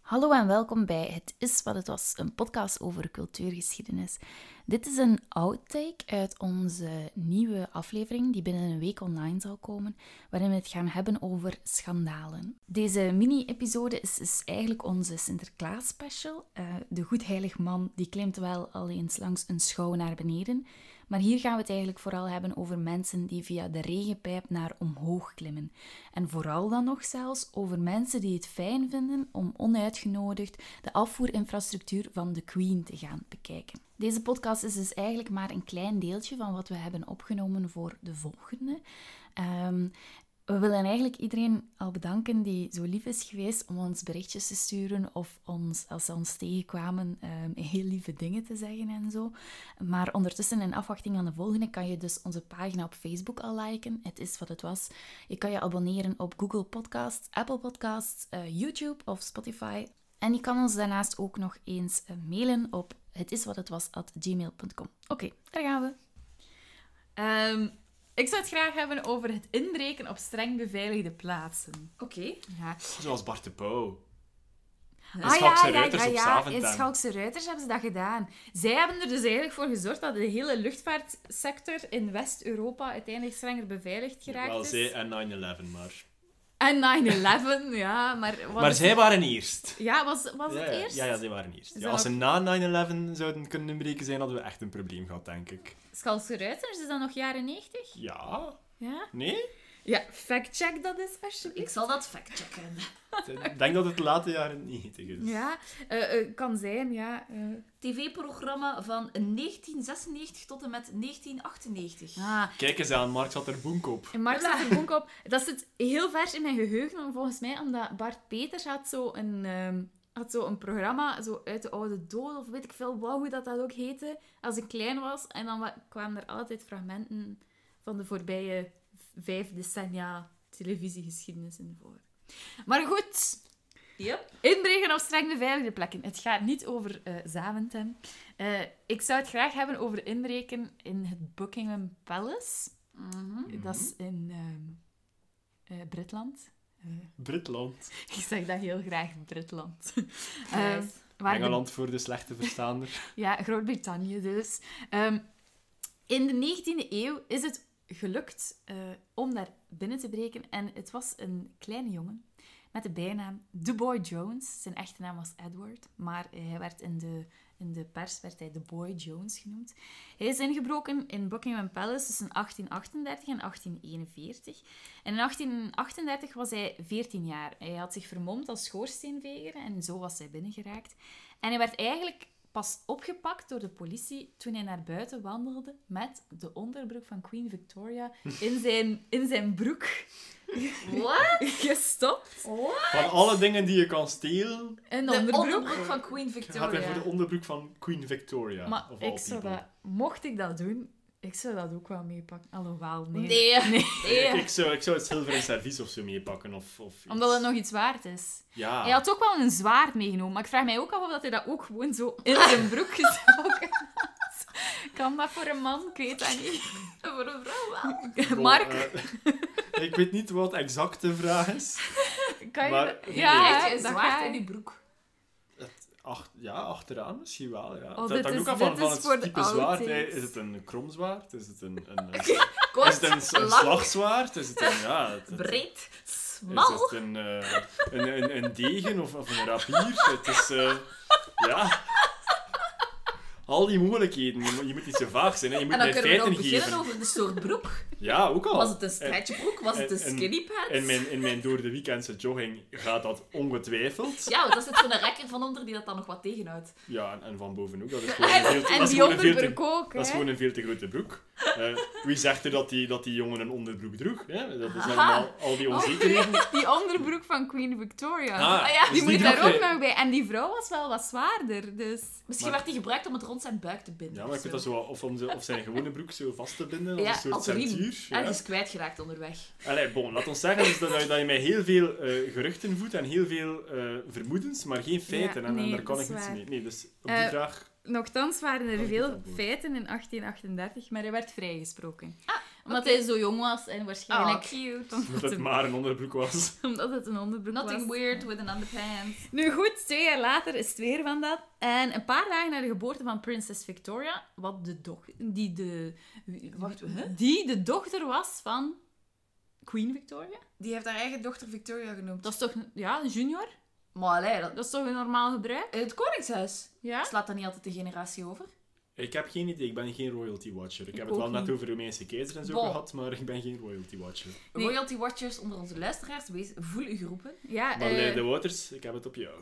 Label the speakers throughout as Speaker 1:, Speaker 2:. Speaker 1: Hallo en welkom bij Het is wat het was, een podcast over cultuurgeschiedenis. Dit is een outtake uit onze nieuwe aflevering die binnen een week online zal komen, waarin we het gaan hebben over schandalen. Deze mini-episode is, is eigenlijk onze Sinterklaas special. de goedheilig man die klimt wel al eens langs een schouw naar beneden, maar hier gaan we het eigenlijk vooral hebben over mensen die via de regenpijp naar omhoog klimmen. En vooral dan nog zelfs over mensen die het fijn vinden om onuitgenodigd de afvoerinfrastructuur van de Queen te gaan bekijken. Deze podcast is dus eigenlijk maar een klein deeltje van wat we hebben opgenomen voor de volgende. Ehm, we willen eigenlijk iedereen al bedanken die zo lief is geweest om ons berichtjes te sturen of ons, als ze ons tegenkwamen, ehm, heel lieve dingen te zeggen en zo. Maar ondertussen, in afwachting aan de volgende, kan je dus onze pagina op Facebook al liken. Het is wat het was. Je kan je abonneren op Google Podcasts, Apple Podcasts, eh, YouTube of Spotify. En je kan ons daarnaast ook nog eens eh, mailen op hetiswathetwas.gmail.com. Oké, daar gaan we.
Speaker 2: Ehm, ik zou het graag hebben over het inbreken op streng beveiligde plaatsen.
Speaker 1: Oké.
Speaker 2: Ja.
Speaker 3: Zoals Bart de Pauw.
Speaker 2: Ah ja,
Speaker 3: Schalkse
Speaker 2: ja,
Speaker 3: Ruiters
Speaker 2: ja,
Speaker 3: op
Speaker 2: ja.
Speaker 3: Zaventem.
Speaker 2: In Schalkse Ruiters hebben ze dat gedaan. Zij hebben er dus eigenlijk voor gezorgd dat de hele luchtvaartsector in West-Europa uiteindelijk strenger beveiligd geraakt
Speaker 3: Wel,
Speaker 2: is.
Speaker 3: zij en 9-11, maar...
Speaker 2: En 9-11, ja. Maar, wat
Speaker 3: Maar
Speaker 2: is-
Speaker 3: zij waren eerst.
Speaker 2: Ja, was, was
Speaker 3: ja,
Speaker 2: het
Speaker 3: ja.
Speaker 2: eerst?
Speaker 3: Ja, ja, zij waren eerst.
Speaker 2: Is
Speaker 3: Ja,
Speaker 2: dat
Speaker 3: als ze na 9-11 zouden kunnen inbreken zijn, hadden we echt een probleem gehad, denk ik.
Speaker 2: Schalkse Ruiters, is dat nog jaren 90?
Speaker 3: Ja?
Speaker 2: Ja.
Speaker 3: Nee?
Speaker 2: Ja, factcheck dat eens alsjeblieft.
Speaker 1: zal dat factchecken.
Speaker 3: Ik denk dat het de late jaren 90 is.
Speaker 2: Ja, eh, eh, kan zijn, ja. eh.
Speaker 1: TV-programma van 1996 tot en met 1998.
Speaker 2: Ah,
Speaker 3: Kijk eens aan, Mark zat er boek op.
Speaker 2: En Mark zat er bonk op. Dat zit heel vers in mijn geheugen, volgens mij, omdat Bart Peters had zo een, ehm, had zo een programma, zo uit de oude dood, of weet ik veel wauw hoe dat, dat ook heette, als ik klein was. En dan wa- kwamen er altijd fragmenten van de voorbije vijf decennia televisiegeschiedenis in voor. Maar goed,
Speaker 1: Yep.
Speaker 2: inbreken op streng beveiligde plekken. Het gaat niet over eh Zaventem. Eh, ik zou het graag hebben over inbreken in het Buckingham Palace. Dat is in ehm, eh, Britland. Eh,
Speaker 3: Britland.
Speaker 2: ik zeg dat heel graag, Britland.
Speaker 1: Nice.
Speaker 2: Ehm, waar de-
Speaker 3: Engeland voor de slechte verstaander.
Speaker 2: ja, Groot-Brittannië dus. Ehm, in de 19e eeuw is het gelukt eh, om daar binnen te breken. En het was een kleine jongen met de bijnaam The Boy Jones. Zijn echte naam was Edward, maar hij werd in de, in de pers werd hij The Boy Jones genoemd. Hij is ingebroken in Buckingham Palace tussen 1838 en 1841. En in 1838 was hij 14 jaar. Hij had zich vermomd als schoorsteenveger en zo was hij binnengeraakt. En hij werd eigenlijk pas opgepakt door de politie toen hij naar buiten wandelde met de onderbroek van Queen Victoria in zijn, in zijn broek
Speaker 1: What?
Speaker 2: gestopt.
Speaker 3: Van alle dingen die je kan stelen,
Speaker 2: Een
Speaker 1: De
Speaker 2: onderbroek.
Speaker 1: Oh, onderbroek van Queen
Speaker 3: gaat hij voor
Speaker 1: Victoria.
Speaker 3: de onderbroek van Queen Victoria.
Speaker 2: Maar
Speaker 3: of all
Speaker 2: ik zou
Speaker 3: people.
Speaker 2: dat, mocht ik dat doen, ik zou dat ook wel meepakken. Alhoewel, nee.
Speaker 1: Nee. nee.
Speaker 3: Ik, ik zou, ik zou het zilveren servies of zo meepakken. Of, of iets.
Speaker 2: Eh. Omdat het nog iets waard is.
Speaker 3: Ja.
Speaker 2: Hij had ook wel een zwaard meegenomen, maar ik vraag mij ook af of dat hij dat ook gewoon zo in zijn broek gestoken had. Kan dat voor een man? Ik weet dat niet.
Speaker 1: Voor een vrouw wel.
Speaker 3: Bon,
Speaker 2: Mark,
Speaker 3: eh, ik weet niet wat exact de vraag is.
Speaker 2: kan je...
Speaker 3: maar-
Speaker 2: dat-
Speaker 3: Nee.
Speaker 2: ja,
Speaker 1: Heeft je een
Speaker 2: dat
Speaker 1: zwaard
Speaker 2: ga
Speaker 1: in
Speaker 2: ik.
Speaker 1: je broek.
Speaker 3: Ach, ja, achteraan misschien wel. Ja.
Speaker 2: Oh,
Speaker 3: dat
Speaker 2: dit
Speaker 3: hangt ook
Speaker 2: is-
Speaker 3: af van,
Speaker 2: dit
Speaker 3: van
Speaker 2: is
Speaker 3: het
Speaker 2: voor de
Speaker 3: type zwaard. hè.
Speaker 2: outtakes.
Speaker 3: Is het een kromzwaard? Is het een, een, een- is
Speaker 1: Kort,
Speaker 3: het een, een
Speaker 1: lang,
Speaker 3: slagzwaard? Is het een, ja, het- het-
Speaker 1: breed,
Speaker 3: Is
Speaker 1: smal.
Speaker 3: het een, eh, een, een, een degen of, of een rapier? Het is... eh, ja... Al die moeilijkheden. Je moet, je moet niet zo vaag zijn. Hè. Je moet
Speaker 1: En dan
Speaker 3: mij
Speaker 1: kunnen we nog
Speaker 3: feiten
Speaker 1: beginnen
Speaker 3: geven. Oh.
Speaker 1: over de soort broek.
Speaker 3: Ja, ook al.
Speaker 1: Was het een stretchbroek? Was het een
Speaker 3: en- en-
Speaker 1: skinny pants?
Speaker 3: In mijn, in mijn door de weekendse jogging gaat dat ongetwijfeld.
Speaker 1: Ja, want dat zit zo'n rekker van onder die dat dan nog wat tegenhoudt.
Speaker 3: Ja, en, en van boven ook. Dat is gewoon een veel te,
Speaker 2: En
Speaker 3: dat is
Speaker 2: die
Speaker 3: gewoon een veel te-
Speaker 2: onderbroek ook,
Speaker 3: dat is
Speaker 2: hè.
Speaker 3: gewoon een veel te grote broek. Eh, wie zegt er dat die, dat die jongen een onderbroek droeg? Hè? Dat is
Speaker 1: Aha.
Speaker 3: allemaal al
Speaker 2: Oh.
Speaker 3: die onzekerheden.
Speaker 2: Die onderbroek van Queen Victoria.
Speaker 3: Ah,
Speaker 2: Ah ja,
Speaker 3: dus
Speaker 2: die
Speaker 3: die
Speaker 2: moet daar
Speaker 3: droeg
Speaker 2: ook
Speaker 3: hij.
Speaker 2: nog bij. En die vrouw was wel wat zwaarder, dus...
Speaker 1: Misschien
Speaker 3: Maar-
Speaker 1: werd die gebruikt om het rond zijn buik te binden.
Speaker 3: Ja, maar ik vind dat zo, of, om ze, of zijn gewone broek zo vast te binden, als
Speaker 1: Ja,
Speaker 3: een soort
Speaker 1: als riem.
Speaker 3: centuur.
Speaker 1: En
Speaker 3: Ja.
Speaker 1: is kwijtgeraakt onderweg.
Speaker 3: Allee, bon, laat ons zeggen dus dat, dat je- dat je mij heel veel eh, geruchten voedt en heel veel eh, vermoedens, maar geen feiten. en, en
Speaker 2: nee,
Speaker 3: daar kan
Speaker 2: dat
Speaker 3: ik
Speaker 2: is
Speaker 3: niets
Speaker 2: waar.
Speaker 3: mee. Nee, dus op die
Speaker 2: Eh,
Speaker 3: vraag...
Speaker 2: Nochtans waren
Speaker 3: Kan
Speaker 2: er
Speaker 3: Oh, ik
Speaker 2: veel
Speaker 3: het antwoord?
Speaker 2: feiten in 1838, maar hij werd vrijgesproken. Omdat hij zo jong was en waarschijnlijk...
Speaker 1: Ah.
Speaker 4: cute.
Speaker 3: Dat het maar een onderbroek was.
Speaker 2: Omdat het een onderbroek was.
Speaker 4: Nothing weird with an underpants.
Speaker 2: Nu goed, twee jaar later is het weer van dat. En een paar dagen na de geboorte van prinses Victoria, wat de doch- die, de,
Speaker 4: Wacht, hè?
Speaker 2: die de dochter was van Queen Victoria.
Speaker 4: Die heeft haar eigen dochter Victoria genoemd.
Speaker 2: Dat is toch, ja, een junior?
Speaker 4: Maar allee, dat...
Speaker 2: Dat is toch een normaal gebruik?
Speaker 4: het Koningshuis.
Speaker 2: Ja?
Speaker 4: Slaat dat niet altijd de generatie over?
Speaker 3: Ik heb geen idee, ik ben geen royalty watcher. Ik,
Speaker 2: Ik
Speaker 3: heb het wel
Speaker 2: ook
Speaker 3: net
Speaker 2: niet.
Speaker 3: over Romeinse keizer en zo
Speaker 4: Bon.
Speaker 3: gehad, maar ik ben geen royalty watcher.
Speaker 2: Nee.
Speaker 4: Royalty Watchers onder onze luisteraars, wees, voel u geroepen.
Speaker 2: Ja,
Speaker 3: Maar
Speaker 2: eh,
Speaker 3: Leila de Waters, ik heb het op jou.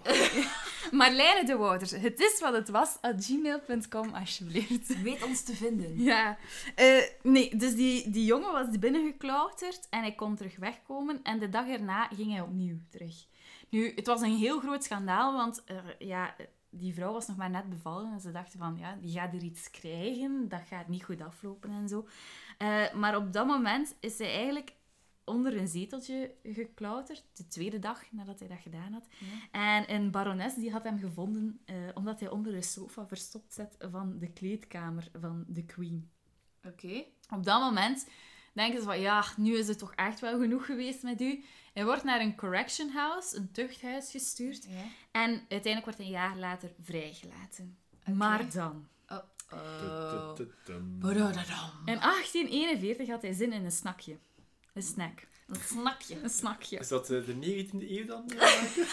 Speaker 2: Marlijne de Wouters. Het is wat het was. At gmail.com, alsjeblieft.
Speaker 4: Weet ons te vinden.
Speaker 2: Ja, eh, nee, dus die, die jongen was binnengeklauterd en hij kon terug wegkomen. En de dag erna ging hij opnieuw terug. Nu, het was een heel groot schandaal, want er- ja, die vrouw was nog maar net bevallen. En ze dachten van, ja, die gaat er iets krijgen, dat gaat niet goed aflopen en zo. Eh, maar op dat moment is hij eigenlijk onder een zeteltje geklauterd, de tweede dag nadat hij dat gedaan had. En een barones die had hem gevonden eh, omdat hij onder een sofa verstopt zat van de kleedkamer van de queen
Speaker 4: Oké.
Speaker 2: op dat moment denken ze van ja, nu is het toch echt wel genoeg geweest met u. Hij wordt naar een correction house, een tuchthuis gestuurd.
Speaker 4: Ja.
Speaker 2: En uiteindelijk wordt hij een jaar later vrijgelaten.
Speaker 4: Oké.
Speaker 2: Maar dan.
Speaker 3: Eh,
Speaker 4: Oh.
Speaker 3: Tutututum.
Speaker 4: Badadadam.
Speaker 2: In 1841 had hij zin in een snackje. Een snack.
Speaker 4: Een snakje.
Speaker 2: Een snackje.
Speaker 3: Is dat eh, de 19e eeuw dan? eh, Ja.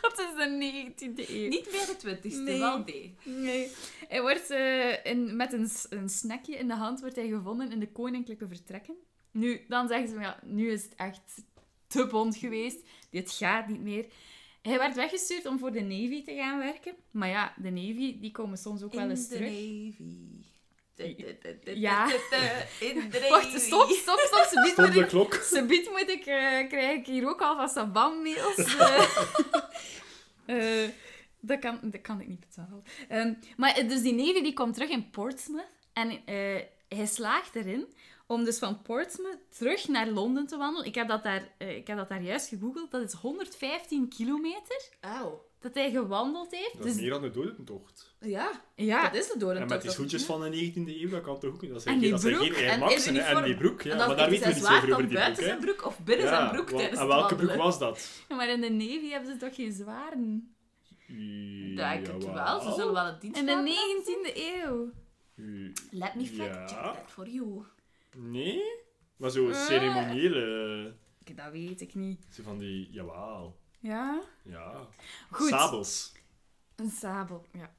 Speaker 2: Dat is de 19e eeuw.
Speaker 4: Niet meer de twintigste,
Speaker 2: Nee.
Speaker 4: wel D.
Speaker 2: Nee. Hij wordt eh, in, met een, s- een snackje in de hand wordt hij gevonden in de koninklijke vertrekken. Nu, dan zeggen ze, van, ja, nu is het echt te bond geweest. Dit gaat niet meer. Hij werd weggestuurd om voor de Navy te gaan werken. Maar ja, de Navy, die komen soms ook wel eens terug.
Speaker 4: Navy.
Speaker 2: Du- du- Ja.
Speaker 4: Ja. In de Navy.
Speaker 2: Wacht, stop, stop, stop. Ze biedt
Speaker 3: Stop
Speaker 2: moet
Speaker 3: de
Speaker 2: ik,
Speaker 3: klok.
Speaker 2: ze biedt moet ik eh, krijg ik hier ook alvast wat BAM-mails. Eh, eh, dat, kan, dat kan ik niet betalen. Ehm, maar eh, dus die Navy die komt terug in Portsmouth. En eh, hij slaagt erin om dus van Portsmouth terug naar Londen te wandelen. Ik heb dat daar, eh, ik heb dat daar juist gegoogeld. Dat is 115 kilometer
Speaker 4: Auw.
Speaker 2: dat hij gewandeld heeft.
Speaker 3: Dat is
Speaker 2: Dus-
Speaker 3: meer dan de dodentocht.
Speaker 4: Ja,
Speaker 2: ja,
Speaker 4: dat is de door
Speaker 3: En met die schoentjes van de 19e eeuw, dat kan toch ook niet? Dat zijn
Speaker 2: En
Speaker 3: geen,
Speaker 2: die
Speaker 3: dat zijn
Speaker 2: broek
Speaker 3: geen Air
Speaker 4: en
Speaker 3: Max
Speaker 4: in
Speaker 3: en, en
Speaker 4: uniform.
Speaker 3: die broek. Ja.
Speaker 4: En
Speaker 3: Maar
Speaker 4: dat
Speaker 3: daar
Speaker 4: is
Speaker 3: weten we
Speaker 4: het
Speaker 3: niet zoveel
Speaker 4: zwaar
Speaker 3: over die
Speaker 4: dan
Speaker 3: broek.
Speaker 4: buiten zijn
Speaker 3: Hè?
Speaker 4: broek of binnen
Speaker 3: Ja,
Speaker 4: zijn broek
Speaker 3: wa-
Speaker 4: tijdens
Speaker 3: en
Speaker 4: het
Speaker 3: welke broek
Speaker 4: wandelen.
Speaker 3: was dat?
Speaker 2: maar in de Navy hebben ze toch geen zwaarden?
Speaker 4: Ja, ik denk het wel. Ze
Speaker 3: jawel.
Speaker 4: zullen wel een dienst
Speaker 2: In de
Speaker 4: maken.
Speaker 2: 19e eeuw.
Speaker 3: U-
Speaker 4: Let me fact check
Speaker 3: Ja.
Speaker 4: that for you.
Speaker 3: Nee? Maar zo
Speaker 2: Eh.
Speaker 3: ceremoniële... eh,
Speaker 2: Ik- Dat weet ik niet.
Speaker 3: Zo van die... Jawel.
Speaker 2: Ja?
Speaker 3: Ja.
Speaker 2: Goed.
Speaker 3: Sabels.
Speaker 2: Een sabel, ja.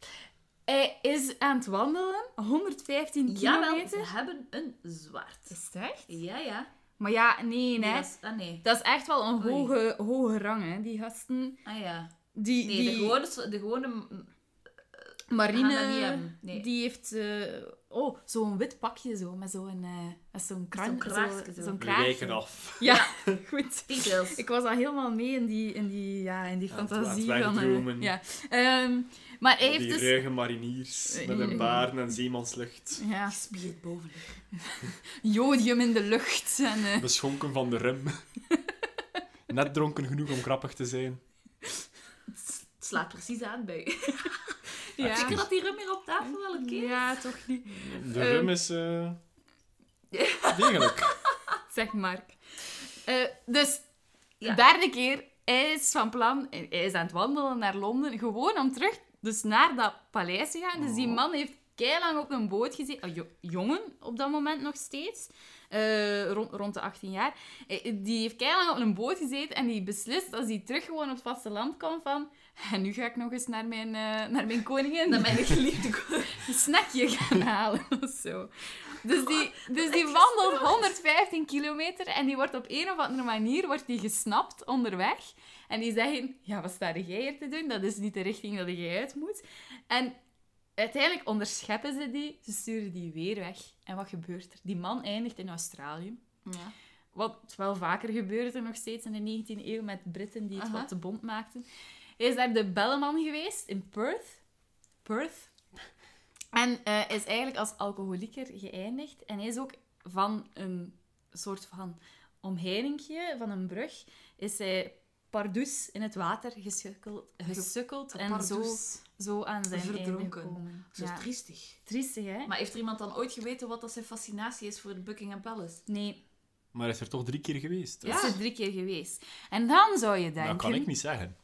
Speaker 2: Hij is aan het wandelen, 115
Speaker 4: Jawel,
Speaker 2: kilometer.
Speaker 4: ze hebben een zwaard.
Speaker 2: Is het echt?
Speaker 4: Ja, ja.
Speaker 2: Maar ja, nee,
Speaker 4: Nee,
Speaker 2: nee.
Speaker 4: dat is- ah, nee.
Speaker 2: Dat is echt wel een
Speaker 4: Oei.
Speaker 2: hoge, hoge rang, hè, die gasten.
Speaker 4: Ah ja.
Speaker 2: Die,
Speaker 4: Nee,
Speaker 2: die
Speaker 4: de gewone... De gewone mm, gaan dat niet
Speaker 2: marine,
Speaker 4: hebben. Nee.
Speaker 2: die heeft... eh, oh, zo'n wit pakje zo, met zo'n eh met zo'n kran,
Speaker 4: Zo'n kraagje
Speaker 2: zo-
Speaker 4: zo.
Speaker 2: zo'n
Speaker 3: We
Speaker 2: kraagje.
Speaker 3: wijken af.
Speaker 2: Ja, goed.
Speaker 4: Details.
Speaker 2: Ik was al helemaal mee in die, in die, ja, in die
Speaker 3: Ja, het
Speaker 2: fantasie
Speaker 3: werd
Speaker 2: van... eh,
Speaker 3: weggedromen.
Speaker 2: ja. Ehm, maar hij
Speaker 3: Al
Speaker 2: heeft
Speaker 3: Die
Speaker 2: dus...
Speaker 3: ruige mariniers
Speaker 2: Eh,
Speaker 3: met een
Speaker 2: eh,
Speaker 3: baard en zeemanslucht.
Speaker 2: Ja,
Speaker 4: Gespierd bovenlijk.
Speaker 2: jodium in de lucht en... eh,
Speaker 3: Beschonken van de rem. Net dronken genoeg om grappig te zijn.
Speaker 4: Het slaat precies aan bij u.
Speaker 2: ja.
Speaker 4: Zeker dat die rum hier op tafel wel een keer.
Speaker 2: Ja, toch niet.
Speaker 3: De
Speaker 2: Eh.
Speaker 3: rum is... eh, Degelijk.
Speaker 2: Zeg Mark. Eh, dus,
Speaker 4: Ja.
Speaker 2: de derde keer, hij is van plan, hij is aan het wandelen naar Londen, gewoon om terug dus naar dat paleis te gaan. Dus die
Speaker 4: Oh.
Speaker 2: man heeft keilang op een boot gezeten, oh, jo- jongen op dat moment nog steeds, eh, rond, rond de 18 jaar. Eh, die heeft keilang op een boot gezeten en die beslist als hij terug gewoon op het vasteland kwam van... En nu ga ik nog eens naar mijn, eh, naar mijn koningin,
Speaker 4: Dat mijn geliefde koor.
Speaker 2: een snackje gaan halen of zo. Dus die, dus die wandelt 115 kilometer en die wordt op een of andere manier wordt die gesnapt onderweg. En die zeggen, ja, wat sta jij hier te doen? Dat is niet de richting dat jij uit moet. En uiteindelijk onderscheppen ze die, ze sturen die weer weg. En wat gebeurt er? Die man eindigt in Australië.
Speaker 4: Ja.
Speaker 2: Wat wel vaker gebeurde nog steeds in de 19e eeuw met Britten die het
Speaker 4: Aha.
Speaker 2: wat te bond maakten. Hij is daar de belleman geweest in Perth. Perth. En eh, is eigenlijk als alcoholieker geëindigd. En hij is ook van een soort van omheiningje, van een brug, is hij
Speaker 1: pardoes in het water gesukkeld, gesukkeld en zo, zo aan zijn einde
Speaker 2: Verdronken.
Speaker 1: gekomen.
Speaker 4: Zo
Speaker 1: Ja.
Speaker 4: triestig.
Speaker 1: Triestig, hè?
Speaker 4: Maar heeft er iemand dan ooit geweten wat dat zijn fascinatie is voor de Buckingham Palace?
Speaker 1: Nee,
Speaker 3: Maar hij is er toch drie keer geweest.
Speaker 4: Ja.
Speaker 2: Is er drie keer geweest. En dan zou je denken...
Speaker 3: Dat kan ik niet zeggen.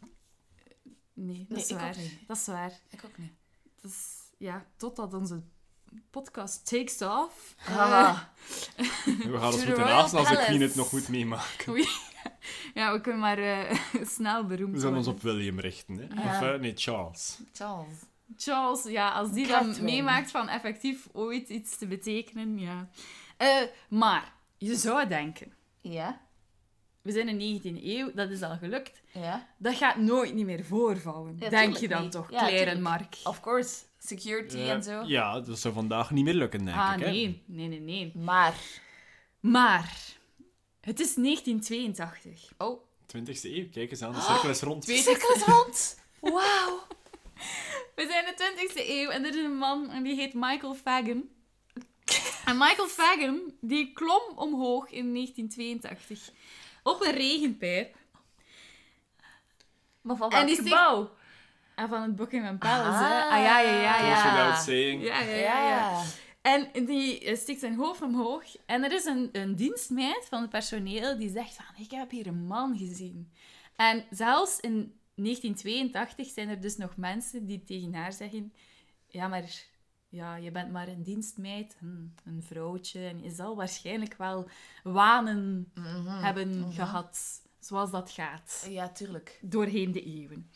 Speaker 2: Nee, dat
Speaker 4: Nee,
Speaker 2: is
Speaker 4: ik ook
Speaker 2: waar.
Speaker 4: niet.
Speaker 2: Dat is waar.
Speaker 4: Ik ook niet.
Speaker 2: Dat is, ja, totdat onze podcast takes off.
Speaker 4: Ah.
Speaker 3: We gaan
Speaker 4: To
Speaker 3: ons
Speaker 4: the
Speaker 3: moeten
Speaker 4: Royal
Speaker 3: naasten als de
Speaker 4: Palace.
Speaker 3: Queen het nog goed meemaakt.
Speaker 2: Eh, ja, we kunnen maar eh, snel beroemd
Speaker 3: We zullen ons
Speaker 2: worden.
Speaker 3: op William richten. Hè?
Speaker 4: Ja.
Speaker 3: Of eh, nee, Charles.
Speaker 4: Charles.
Speaker 2: Charles, ja, als die dan
Speaker 4: Catherine.
Speaker 2: meemaakt van effectief ooit iets te betekenen, ja. Eh, maar, je zou denken,
Speaker 4: Ja,
Speaker 2: we zijn in de 19e eeuw, dat is al gelukt.
Speaker 4: ja.
Speaker 2: Dat gaat nooit niet meer voorvallen,
Speaker 4: Ja,
Speaker 2: denk
Speaker 4: tuurlijk
Speaker 2: je dan
Speaker 4: niet.
Speaker 2: toch,
Speaker 4: Ja,
Speaker 2: Claire en
Speaker 4: tuurlijk.
Speaker 2: Mark?
Speaker 4: Of course. Security
Speaker 3: Eh,
Speaker 4: en zo.
Speaker 3: ja, dat zou vandaag niet meer lukken, denk
Speaker 2: ah,
Speaker 3: ik. Hè?
Speaker 2: nee. Nee, nee, nee.
Speaker 4: Maar.
Speaker 2: Maar, het is 1982.
Speaker 4: Oh,
Speaker 3: 20e eeuw, kijk eens
Speaker 2: Ah,
Speaker 3: aan, de cirkel is rond.
Speaker 4: twee cirkels rond. Wauw.
Speaker 2: We zijn in de 20e eeuw en er is een man en die heet Michael Fagan. En Michael Fagan, die klom omhoog in 1982. Op een regenpijp.
Speaker 4: Maar van
Speaker 2: En
Speaker 4: welk
Speaker 2: die steekt-
Speaker 4: gebouw?
Speaker 2: En van het Buckingham Palace, hè.
Speaker 4: Ah.
Speaker 2: Ah, ja, ja, ja,
Speaker 3: Goes
Speaker 2: ja.
Speaker 3: without saying.
Speaker 2: Ja, ja, ja, ja.
Speaker 4: Ja.
Speaker 2: En die eh, steekt zijn hoofd omhoog. En er is een, een dienstmeid van het personeel die zegt van, ik heb hier een man gezien. En zelfs in 1982 zijn er dus nog mensen die tegen haar zeggen, ja, maar ja, je bent maar een dienstmeid, een, een vrouwtje. En je zal waarschijnlijk wel wanen
Speaker 4: Mm,
Speaker 2: hebben gehad, zoals dat gaat
Speaker 4: Mhm. Ja, tuurlijk.
Speaker 2: doorheen de eeuwen.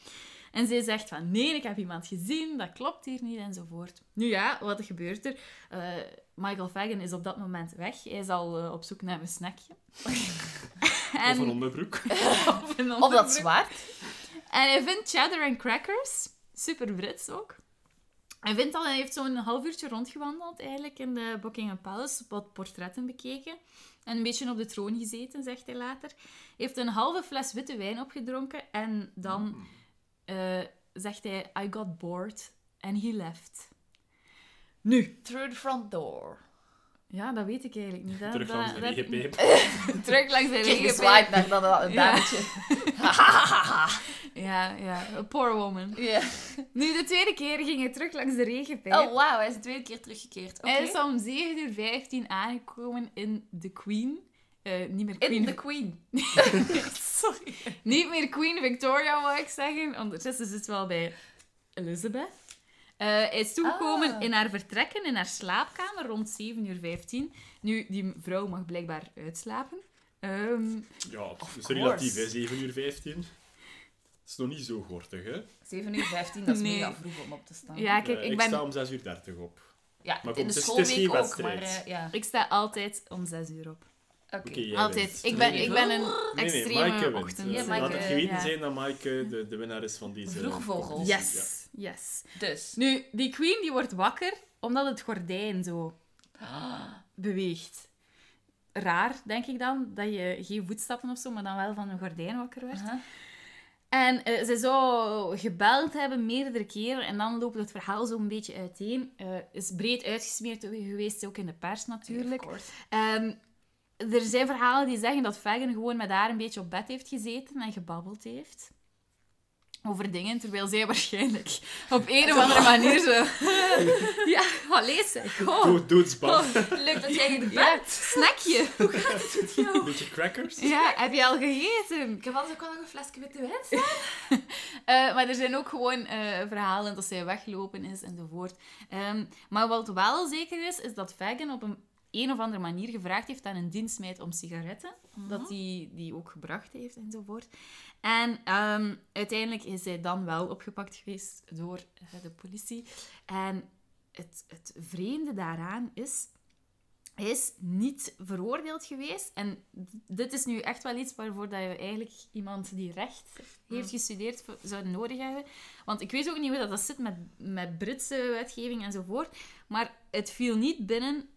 Speaker 2: En zij zegt van, nee, ik heb iemand gezien, dat klopt hier niet, enzovoort. Nu ja, wat gebeurt er? Eh, Michael Fagan is op dat moment weg. Hij is al eh, op zoek naar een snackje.
Speaker 3: Of een onderbroek.
Speaker 2: of een
Speaker 4: Of dat
Speaker 2: onderbroek.
Speaker 4: zwaard.
Speaker 2: En hij vindt cheddar en crackers. Super Brits ook. Hij vindt al, hij heeft zo'n half uurtje rondgewandeld eigenlijk in de Buckingham Palace, wat portretten bekeken. En een beetje op de troon gezeten, zegt hij later. Hij heeft een halve fles witte wijn opgedronken en dan
Speaker 3: Mm-hmm.
Speaker 2: eh, zegt hij, I got bored and he left. Nu.
Speaker 4: Through the front door.
Speaker 2: Ja, dat weet ik eigenlijk niet. Dat,
Speaker 3: Terug
Speaker 2: dat-
Speaker 3: langs de E
Speaker 2: dat-
Speaker 3: regenpijp.
Speaker 2: Terug langs de
Speaker 4: Kijk,
Speaker 2: regenpijp.
Speaker 4: gezwaaid naar dat
Speaker 2: Ja.
Speaker 4: dat dametje.
Speaker 2: Ja, ja. A poor woman.
Speaker 4: Ja.
Speaker 2: Nu, de tweede keer ging hij terug langs de regenpijp.
Speaker 4: Oh, wauw. Hij is de tweede keer teruggekeerd. Oké.
Speaker 2: Hij is om 7 uur 15 aangekomen in The Queen. Eh, niet meer Queen.
Speaker 4: In the Queen. Sorry.
Speaker 2: Niet meer Queen Victoria, wou ik zeggen. Ondertussen zit het wel bij Elizabeth. Eh, hij is toegekomen
Speaker 4: Ah.
Speaker 2: in haar vertrekken, in haar slaapkamer, rond 7 uur 15. Nu, die vrouw mag blijkbaar uitslapen. Ehm,
Speaker 3: Ja, het is
Speaker 4: course.
Speaker 3: relatief, hè, 7 uur 15. Dat is nog niet zo gortig, hè?
Speaker 4: 7 uur 15, dat is
Speaker 2: Nee.
Speaker 4: mega vroeg om op te staan.
Speaker 2: ja, kijk,
Speaker 3: Eh,
Speaker 2: ik
Speaker 3: sta
Speaker 2: ben...
Speaker 3: om 6 uur 30 op.
Speaker 4: Ja,
Speaker 3: Maar
Speaker 4: in
Speaker 3: goed,
Speaker 4: de
Speaker 3: het is- het is
Speaker 4: schoolweek
Speaker 3: geen
Speaker 4: ook,
Speaker 3: wedstrijd.
Speaker 4: maar eh, ja.
Speaker 2: Ik sta altijd om 6 uur op.
Speaker 4: Oké.
Speaker 3: Oké, jij
Speaker 2: Altijd.
Speaker 3: wint.
Speaker 2: Ik ben, ik ben een
Speaker 3: Nee, nee,
Speaker 2: extreme
Speaker 3: Maaike wint.
Speaker 2: ochtend.
Speaker 4: Ja,
Speaker 3: Eh,
Speaker 4: Maaike,
Speaker 3: Laat het geweten
Speaker 2: ja.
Speaker 3: zijn dat Maaike de, de winnaar is van deze...
Speaker 4: Vroegvogels.
Speaker 3: competitie,
Speaker 2: Yes, yes.
Speaker 4: Dus.
Speaker 2: Nu, die queen die wordt wakker omdat het gordijn zo beweegt. Raar, denk ik dan, dat je geen voetstappen of zo, maar dan wel van een gordijn wakker werd.
Speaker 4: Aha.
Speaker 2: En eh, ze zou gebeld hebben meerdere keren en dan loopt het verhaal zo een beetje uiteen. Eh is breed uitgesmeerd geweest, ook in de pers natuurlijk.
Speaker 4: Of course.
Speaker 2: Ehm, er zijn verhalen die zeggen dat Fagan gewoon met haar een beetje op bed heeft gezeten en gebabbeld heeft. Over dingen, terwijl zij waarschijnlijk op een of andere manier zo... ja, allee zeg,
Speaker 3: Ja.
Speaker 2: goh.
Speaker 3: Dood, doodsbang.
Speaker 2: Oh,
Speaker 4: Leuk dat jij er bent.
Speaker 2: ja, snackje.
Speaker 3: Beetje crackers.
Speaker 2: Ja, heb je al gegeten?
Speaker 4: Ik heb anders ook wel nog een flesje witte wijn.
Speaker 2: Eh, maar er zijn ook gewoon eh, verhalen dat zij weglopen is enzovoort. Ehm, maar wat wel zeker is, is dat Fagan op een, een of andere manier gevraagd heeft aan een dienstmeid om sigaretten. Dat die die ook gebracht heeft enzovoort. En ehm, uiteindelijk is zij dan wel opgepakt geweest door eh, de politie. En het, het vreemde daaraan is... Hij is niet veroordeeld geweest. En d- dit is nu echt wel iets waarvoor dat je eigenlijk iemand die recht
Speaker 4: Hmm.
Speaker 2: heeft gestudeerd voor- zou nodig hebben. Want ik weet ook niet hoe dat, dat zit met, met Britse wetgeving enzovoort. Maar het viel niet binnen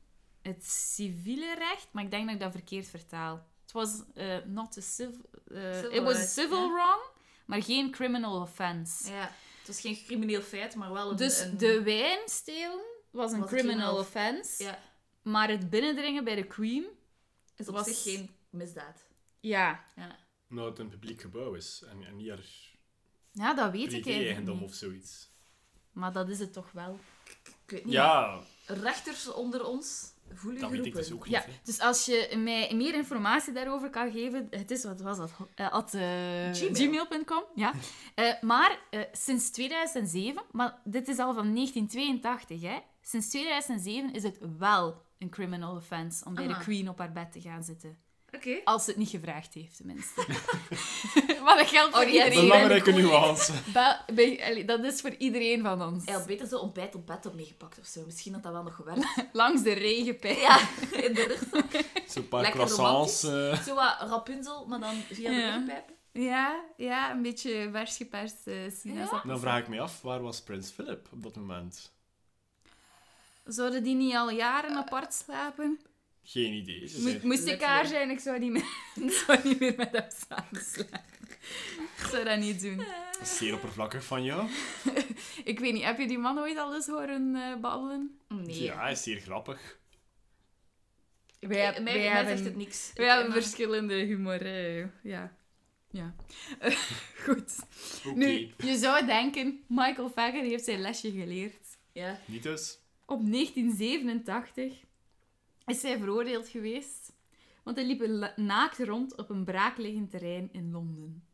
Speaker 2: het civiele recht, maar ik denk dat ik dat verkeerd vertaal. Het was eh, not a civil... eh,
Speaker 4: Civil
Speaker 2: it was a
Speaker 4: rights,
Speaker 2: civil
Speaker 4: ja.
Speaker 2: wrong, maar geen criminal offense.
Speaker 4: Ja. Het was geen crimineel feit, maar wel een...
Speaker 2: Dus
Speaker 4: een-
Speaker 2: de wijn stelen was een
Speaker 4: Was een
Speaker 2: criminal
Speaker 4: criminal-
Speaker 2: offense,
Speaker 4: Ja.
Speaker 2: maar het binnendringen bij de Queen
Speaker 4: Het was
Speaker 2: was-
Speaker 4: zich geen misdaad.
Speaker 2: Ja.
Speaker 4: Ja.
Speaker 3: nou het een publiek gebouw is en, en niet haar
Speaker 2: Ja, dat weet ik eigenlijk
Speaker 3: privé-eigendom
Speaker 2: niet.
Speaker 3: of zoiets.
Speaker 2: Maar dat is het toch wel.
Speaker 4: Ik weet niet.
Speaker 3: Ja,
Speaker 4: Rechters onder ons, voel u
Speaker 3: dat weet ik dus
Speaker 4: geroepen.
Speaker 3: ook niet.
Speaker 2: Ja,
Speaker 3: hè.
Speaker 2: dus als je mij meer informatie daarover kan geven, het is wat was dat? Eh, at eh,
Speaker 4: Gmail.
Speaker 2: gmail.com. Ja. Eh, maar eh, sinds 2007, maar dit is al van 1982, hè? Sinds 2007 is het wel een criminal offense om bij de
Speaker 4: Aha.
Speaker 2: Queen op haar bed te gaan zitten.
Speaker 4: Oké.
Speaker 2: Als ze het niet gevraagd heeft, tenminste. maar dat geldt voor
Speaker 4: Oh, die
Speaker 2: iedereen.
Speaker 4: Nee,
Speaker 3: Belangrijke
Speaker 4: ben ik ook
Speaker 3: nuance.
Speaker 2: Ba- bij- allee, dat is voor iedereen van ons.
Speaker 4: Hij had beter zijn ontbijt op bed op meegepakt of zo. Misschien had dat wel nog gewerkt.
Speaker 2: Langs de regenpijp.
Speaker 4: ja, in de rug.
Speaker 3: Zo'n paar
Speaker 4: Lekker
Speaker 3: croissants. eh.
Speaker 4: Zo wat Rapunzel, maar dan via de
Speaker 2: Ja.
Speaker 4: rugpijp.
Speaker 2: Ja, ja, een beetje vers geperst eh, sinaasappel.
Speaker 3: Dan vraag ik me af, waar was Prins Philip op dat moment?
Speaker 2: Zouden die niet al jaren apart slapen?
Speaker 3: Geen idee. Ze
Speaker 2: Moest-
Speaker 3: zei-
Speaker 2: moest ik haar zijn, ik zou niet meer, ik zou niet meer met hem samen slapen. Ik zou dat niet doen.
Speaker 3: dat is zeer oppervlakkig van jou.
Speaker 2: Ik weet niet, heb je die man ooit al eens horen eh, babbelen?
Speaker 4: Nee.
Speaker 3: Ja, hij is zeer grappig.
Speaker 2: Wij,
Speaker 4: Ik- mij, mij zegt het niks.
Speaker 2: wij
Speaker 4: Ik-
Speaker 2: hebben
Speaker 4: maar-
Speaker 2: verschillende humor, eh, ja. Ja. Goed.
Speaker 3: Oké,
Speaker 2: Nu, je zou denken, Michael Fager heeft zijn lesje geleerd.
Speaker 4: Ja.
Speaker 3: niet dus.
Speaker 2: Op 1987 is hij veroordeeld geweest, want hij liep la- naakt rond op een braakliggend terrein in Londen.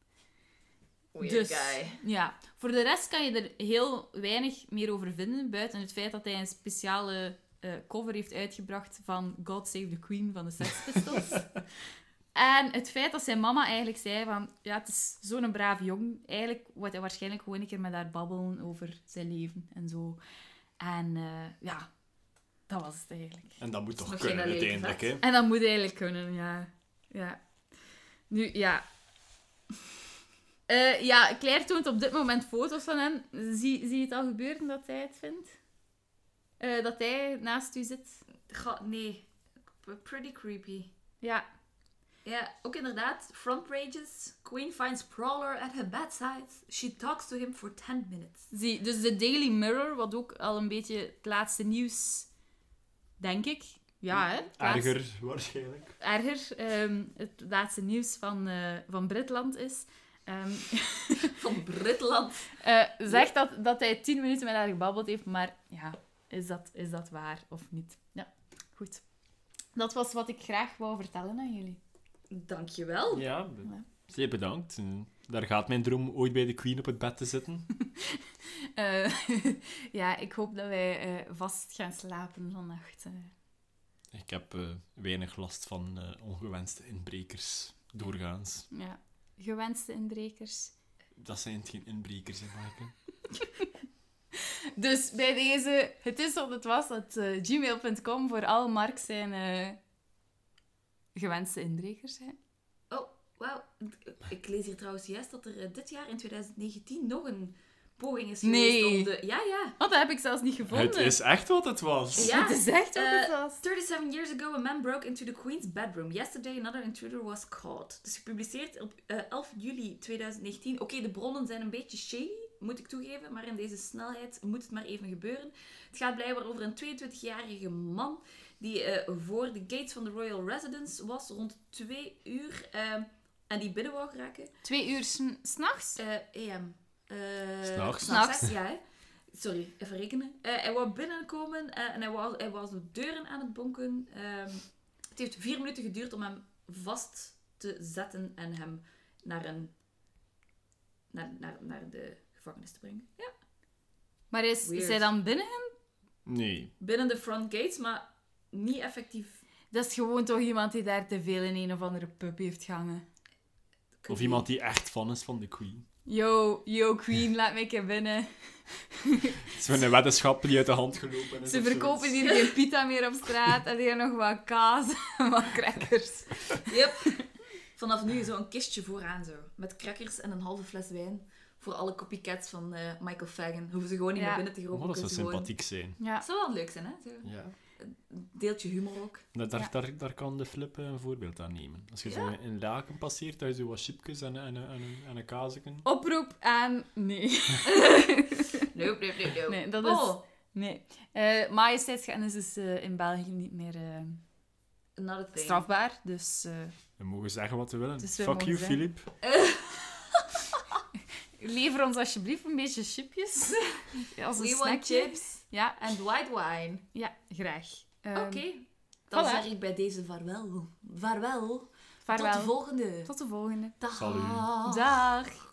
Speaker 4: Weird
Speaker 2: dus,
Speaker 4: guy.
Speaker 2: ja. Voor de rest kan je er heel weinig meer over vinden, buiten het feit dat hij een speciale eh, cover heeft uitgebracht van God Save the Queen van de Sex Pistols. en het feit dat zijn mama eigenlijk zei van, ja, het is zo'n braaf jong. Eigenlijk wordt hij waarschijnlijk gewoon een keer met haar babbelen over zijn leven en zo. En eh, ja, dat was het eigenlijk.
Speaker 3: En dat moet
Speaker 4: is
Speaker 3: toch
Speaker 4: nog
Speaker 3: kunnen
Speaker 4: geen alleen
Speaker 3: uiteindelijk, hè?
Speaker 2: En dat moet eigenlijk kunnen, ja. Ja. Nu, ja. Eh, ja, Claire toont op dit moment foto's van hem. Zie, zie je het al gebeuren dat hij het vindt? Eh, dat hij naast u zit?
Speaker 4: Ga- nee. P- Pretty creepy.
Speaker 2: Ja.
Speaker 4: Ja, ook inderdaad. Front pages. Queen finds Prowler at her bedside. She talks to him for 10 minutes.
Speaker 2: Zie, dus de Daily Mirror, wat ook al een beetje het laatste nieuws, denk ik. Ja, hè? Het laatste-
Speaker 3: Erger, waarschijnlijk.
Speaker 2: Erger. ehm, het laatste nieuws van, eh, van Britland is. Ehm,
Speaker 4: Van Britland.
Speaker 2: Eh, zegt dat, dat hij tien minuten met haar gebabbeld heeft, maar ja, is dat, is dat waar of niet? Ja, goed. Dat was wat ik graag wou vertellen aan jullie.
Speaker 4: Dankjewel.
Speaker 3: Ja, be-
Speaker 2: Ja.
Speaker 3: zeer bedankt. En Daar gaat mijn droom ooit bij de Queen op het bed te zitten.
Speaker 2: Eh, ja, ik hoop dat wij eh, vast gaan slapen vannacht. eh.
Speaker 3: Ik heb eh, weinig last van eh, ongewenste inbrekers, doorgaans.
Speaker 2: ja. Gewenste inbrekers.
Speaker 3: Dat zijn geen inbrekers, hè, Maaike?
Speaker 2: Dus bij deze, het is wat het was, at eh, gmail.com voor al Mark zijn eh, gewenste inbrekers zijn.
Speaker 4: Oh, wauw. Ik lees hier trouwens juist dat er eh, dit jaar in 2019 nog een poging is geweest
Speaker 2: Nee.
Speaker 4: om de... Ja, ja.
Speaker 2: Oh, dat heb ik zelfs niet gevonden.
Speaker 3: Het is echt wat het was.
Speaker 4: Ja.
Speaker 2: Het is echt wat het
Speaker 4: Eh,
Speaker 2: was.
Speaker 4: 37 years ago, a man broke into the queen's bedroom. Yesterday, another intruder was caught. Dus gepubliceerd op eh, 11 juli 2019. Oké, de bronnen zijn een beetje shady, moet ik toegeven. Maar in deze snelheid moet het maar even gebeuren. Het gaat blijkbaar over een 22-jarige man die eh, voor de gates van de royal residence was rond 2 uur. eh, en die binnen wou geraken.
Speaker 2: Twee uur s'n- s'nachts?
Speaker 4: Eh, AM. Eh,
Speaker 3: S'nachts.
Speaker 2: S'nachts.
Speaker 4: hè? Ja, hè. Sorry, even rekenen. Eh, hij wou binnenkomen eh, en hij was, hij was de deuren aan het bonken. Ehm, het heeft vier minuten geduurd om hem vast te zetten en hem naar, een, naar, naar, naar de gevangenis te brengen. Ja.
Speaker 2: Maar is,
Speaker 4: Weird.
Speaker 2: is hij dan binnen?
Speaker 3: Nee.
Speaker 4: Binnen de front gates, maar niet effectief.
Speaker 2: Dat is gewoon toch iemand die daar te veel in een of andere pub heeft gehangen.
Speaker 3: Of iemand die echt fan is van de Queen.
Speaker 2: Yo, yo Queen, laat mij een keer binnen.
Speaker 3: Het is een weddenschap die uit de hand gelopen is.
Speaker 2: Ze
Speaker 3: of
Speaker 2: verkopen
Speaker 3: zoiets.
Speaker 2: hier geen pita meer op straat en hier nog wat kaas en wat crackers.
Speaker 4: Yep. Vanaf nu zo'n kistje vooraan zo. Met crackers en een halve fles wijn. Voor alle copycats van eh, Michael Fagan. Hoeven ze gewoon niet
Speaker 2: Ja.
Speaker 4: meer binnen te
Speaker 3: Oh,
Speaker 4: geroepen.
Speaker 3: dat zou
Speaker 4: kunnen ze gewoon-
Speaker 3: sympathiek zijn.
Speaker 2: Ja.
Speaker 4: Het zou wel leuk zijn, hè? Zo.
Speaker 3: Ja.
Speaker 4: Deeltje humor ook.
Speaker 3: Daar, daar,
Speaker 2: Ja.
Speaker 3: daar, daar kan de flip eh, een voorbeeld aan nemen. Als je zo in- in laken passeert, dat je zo wat chipjes en, en, en, en, en een kazeken.
Speaker 2: Oproep aan... Nee.
Speaker 4: Nope, nope, nope, nope.
Speaker 2: Nee, dat is...
Speaker 4: Oh,
Speaker 2: Nee. Eh majesteitsgeënnis is eh, in België niet meer eh,
Speaker 4: Another thing.
Speaker 2: strafbaar. Dus eh,
Speaker 3: We mogen zeggen wat we willen.
Speaker 2: Dus we
Speaker 3: Fuck
Speaker 2: mogen
Speaker 3: you,
Speaker 2: zeggen.
Speaker 3: Filip.
Speaker 2: lever ons alsjeblieft een beetje chipjes. Als een
Speaker 4: We want
Speaker 2: snackje.
Speaker 4: chips
Speaker 2: Ja,
Speaker 4: and white wine.
Speaker 2: ja, graag. Ehm,
Speaker 4: Oké. Dan
Speaker 2: voilà.
Speaker 4: zeg ik bij deze vaarwel. Vaarwel.
Speaker 2: Vaarwel.
Speaker 4: Tot de volgende. Oh.
Speaker 2: Tot de volgende.
Speaker 4: Dag.
Speaker 3: Salut.
Speaker 2: Dag.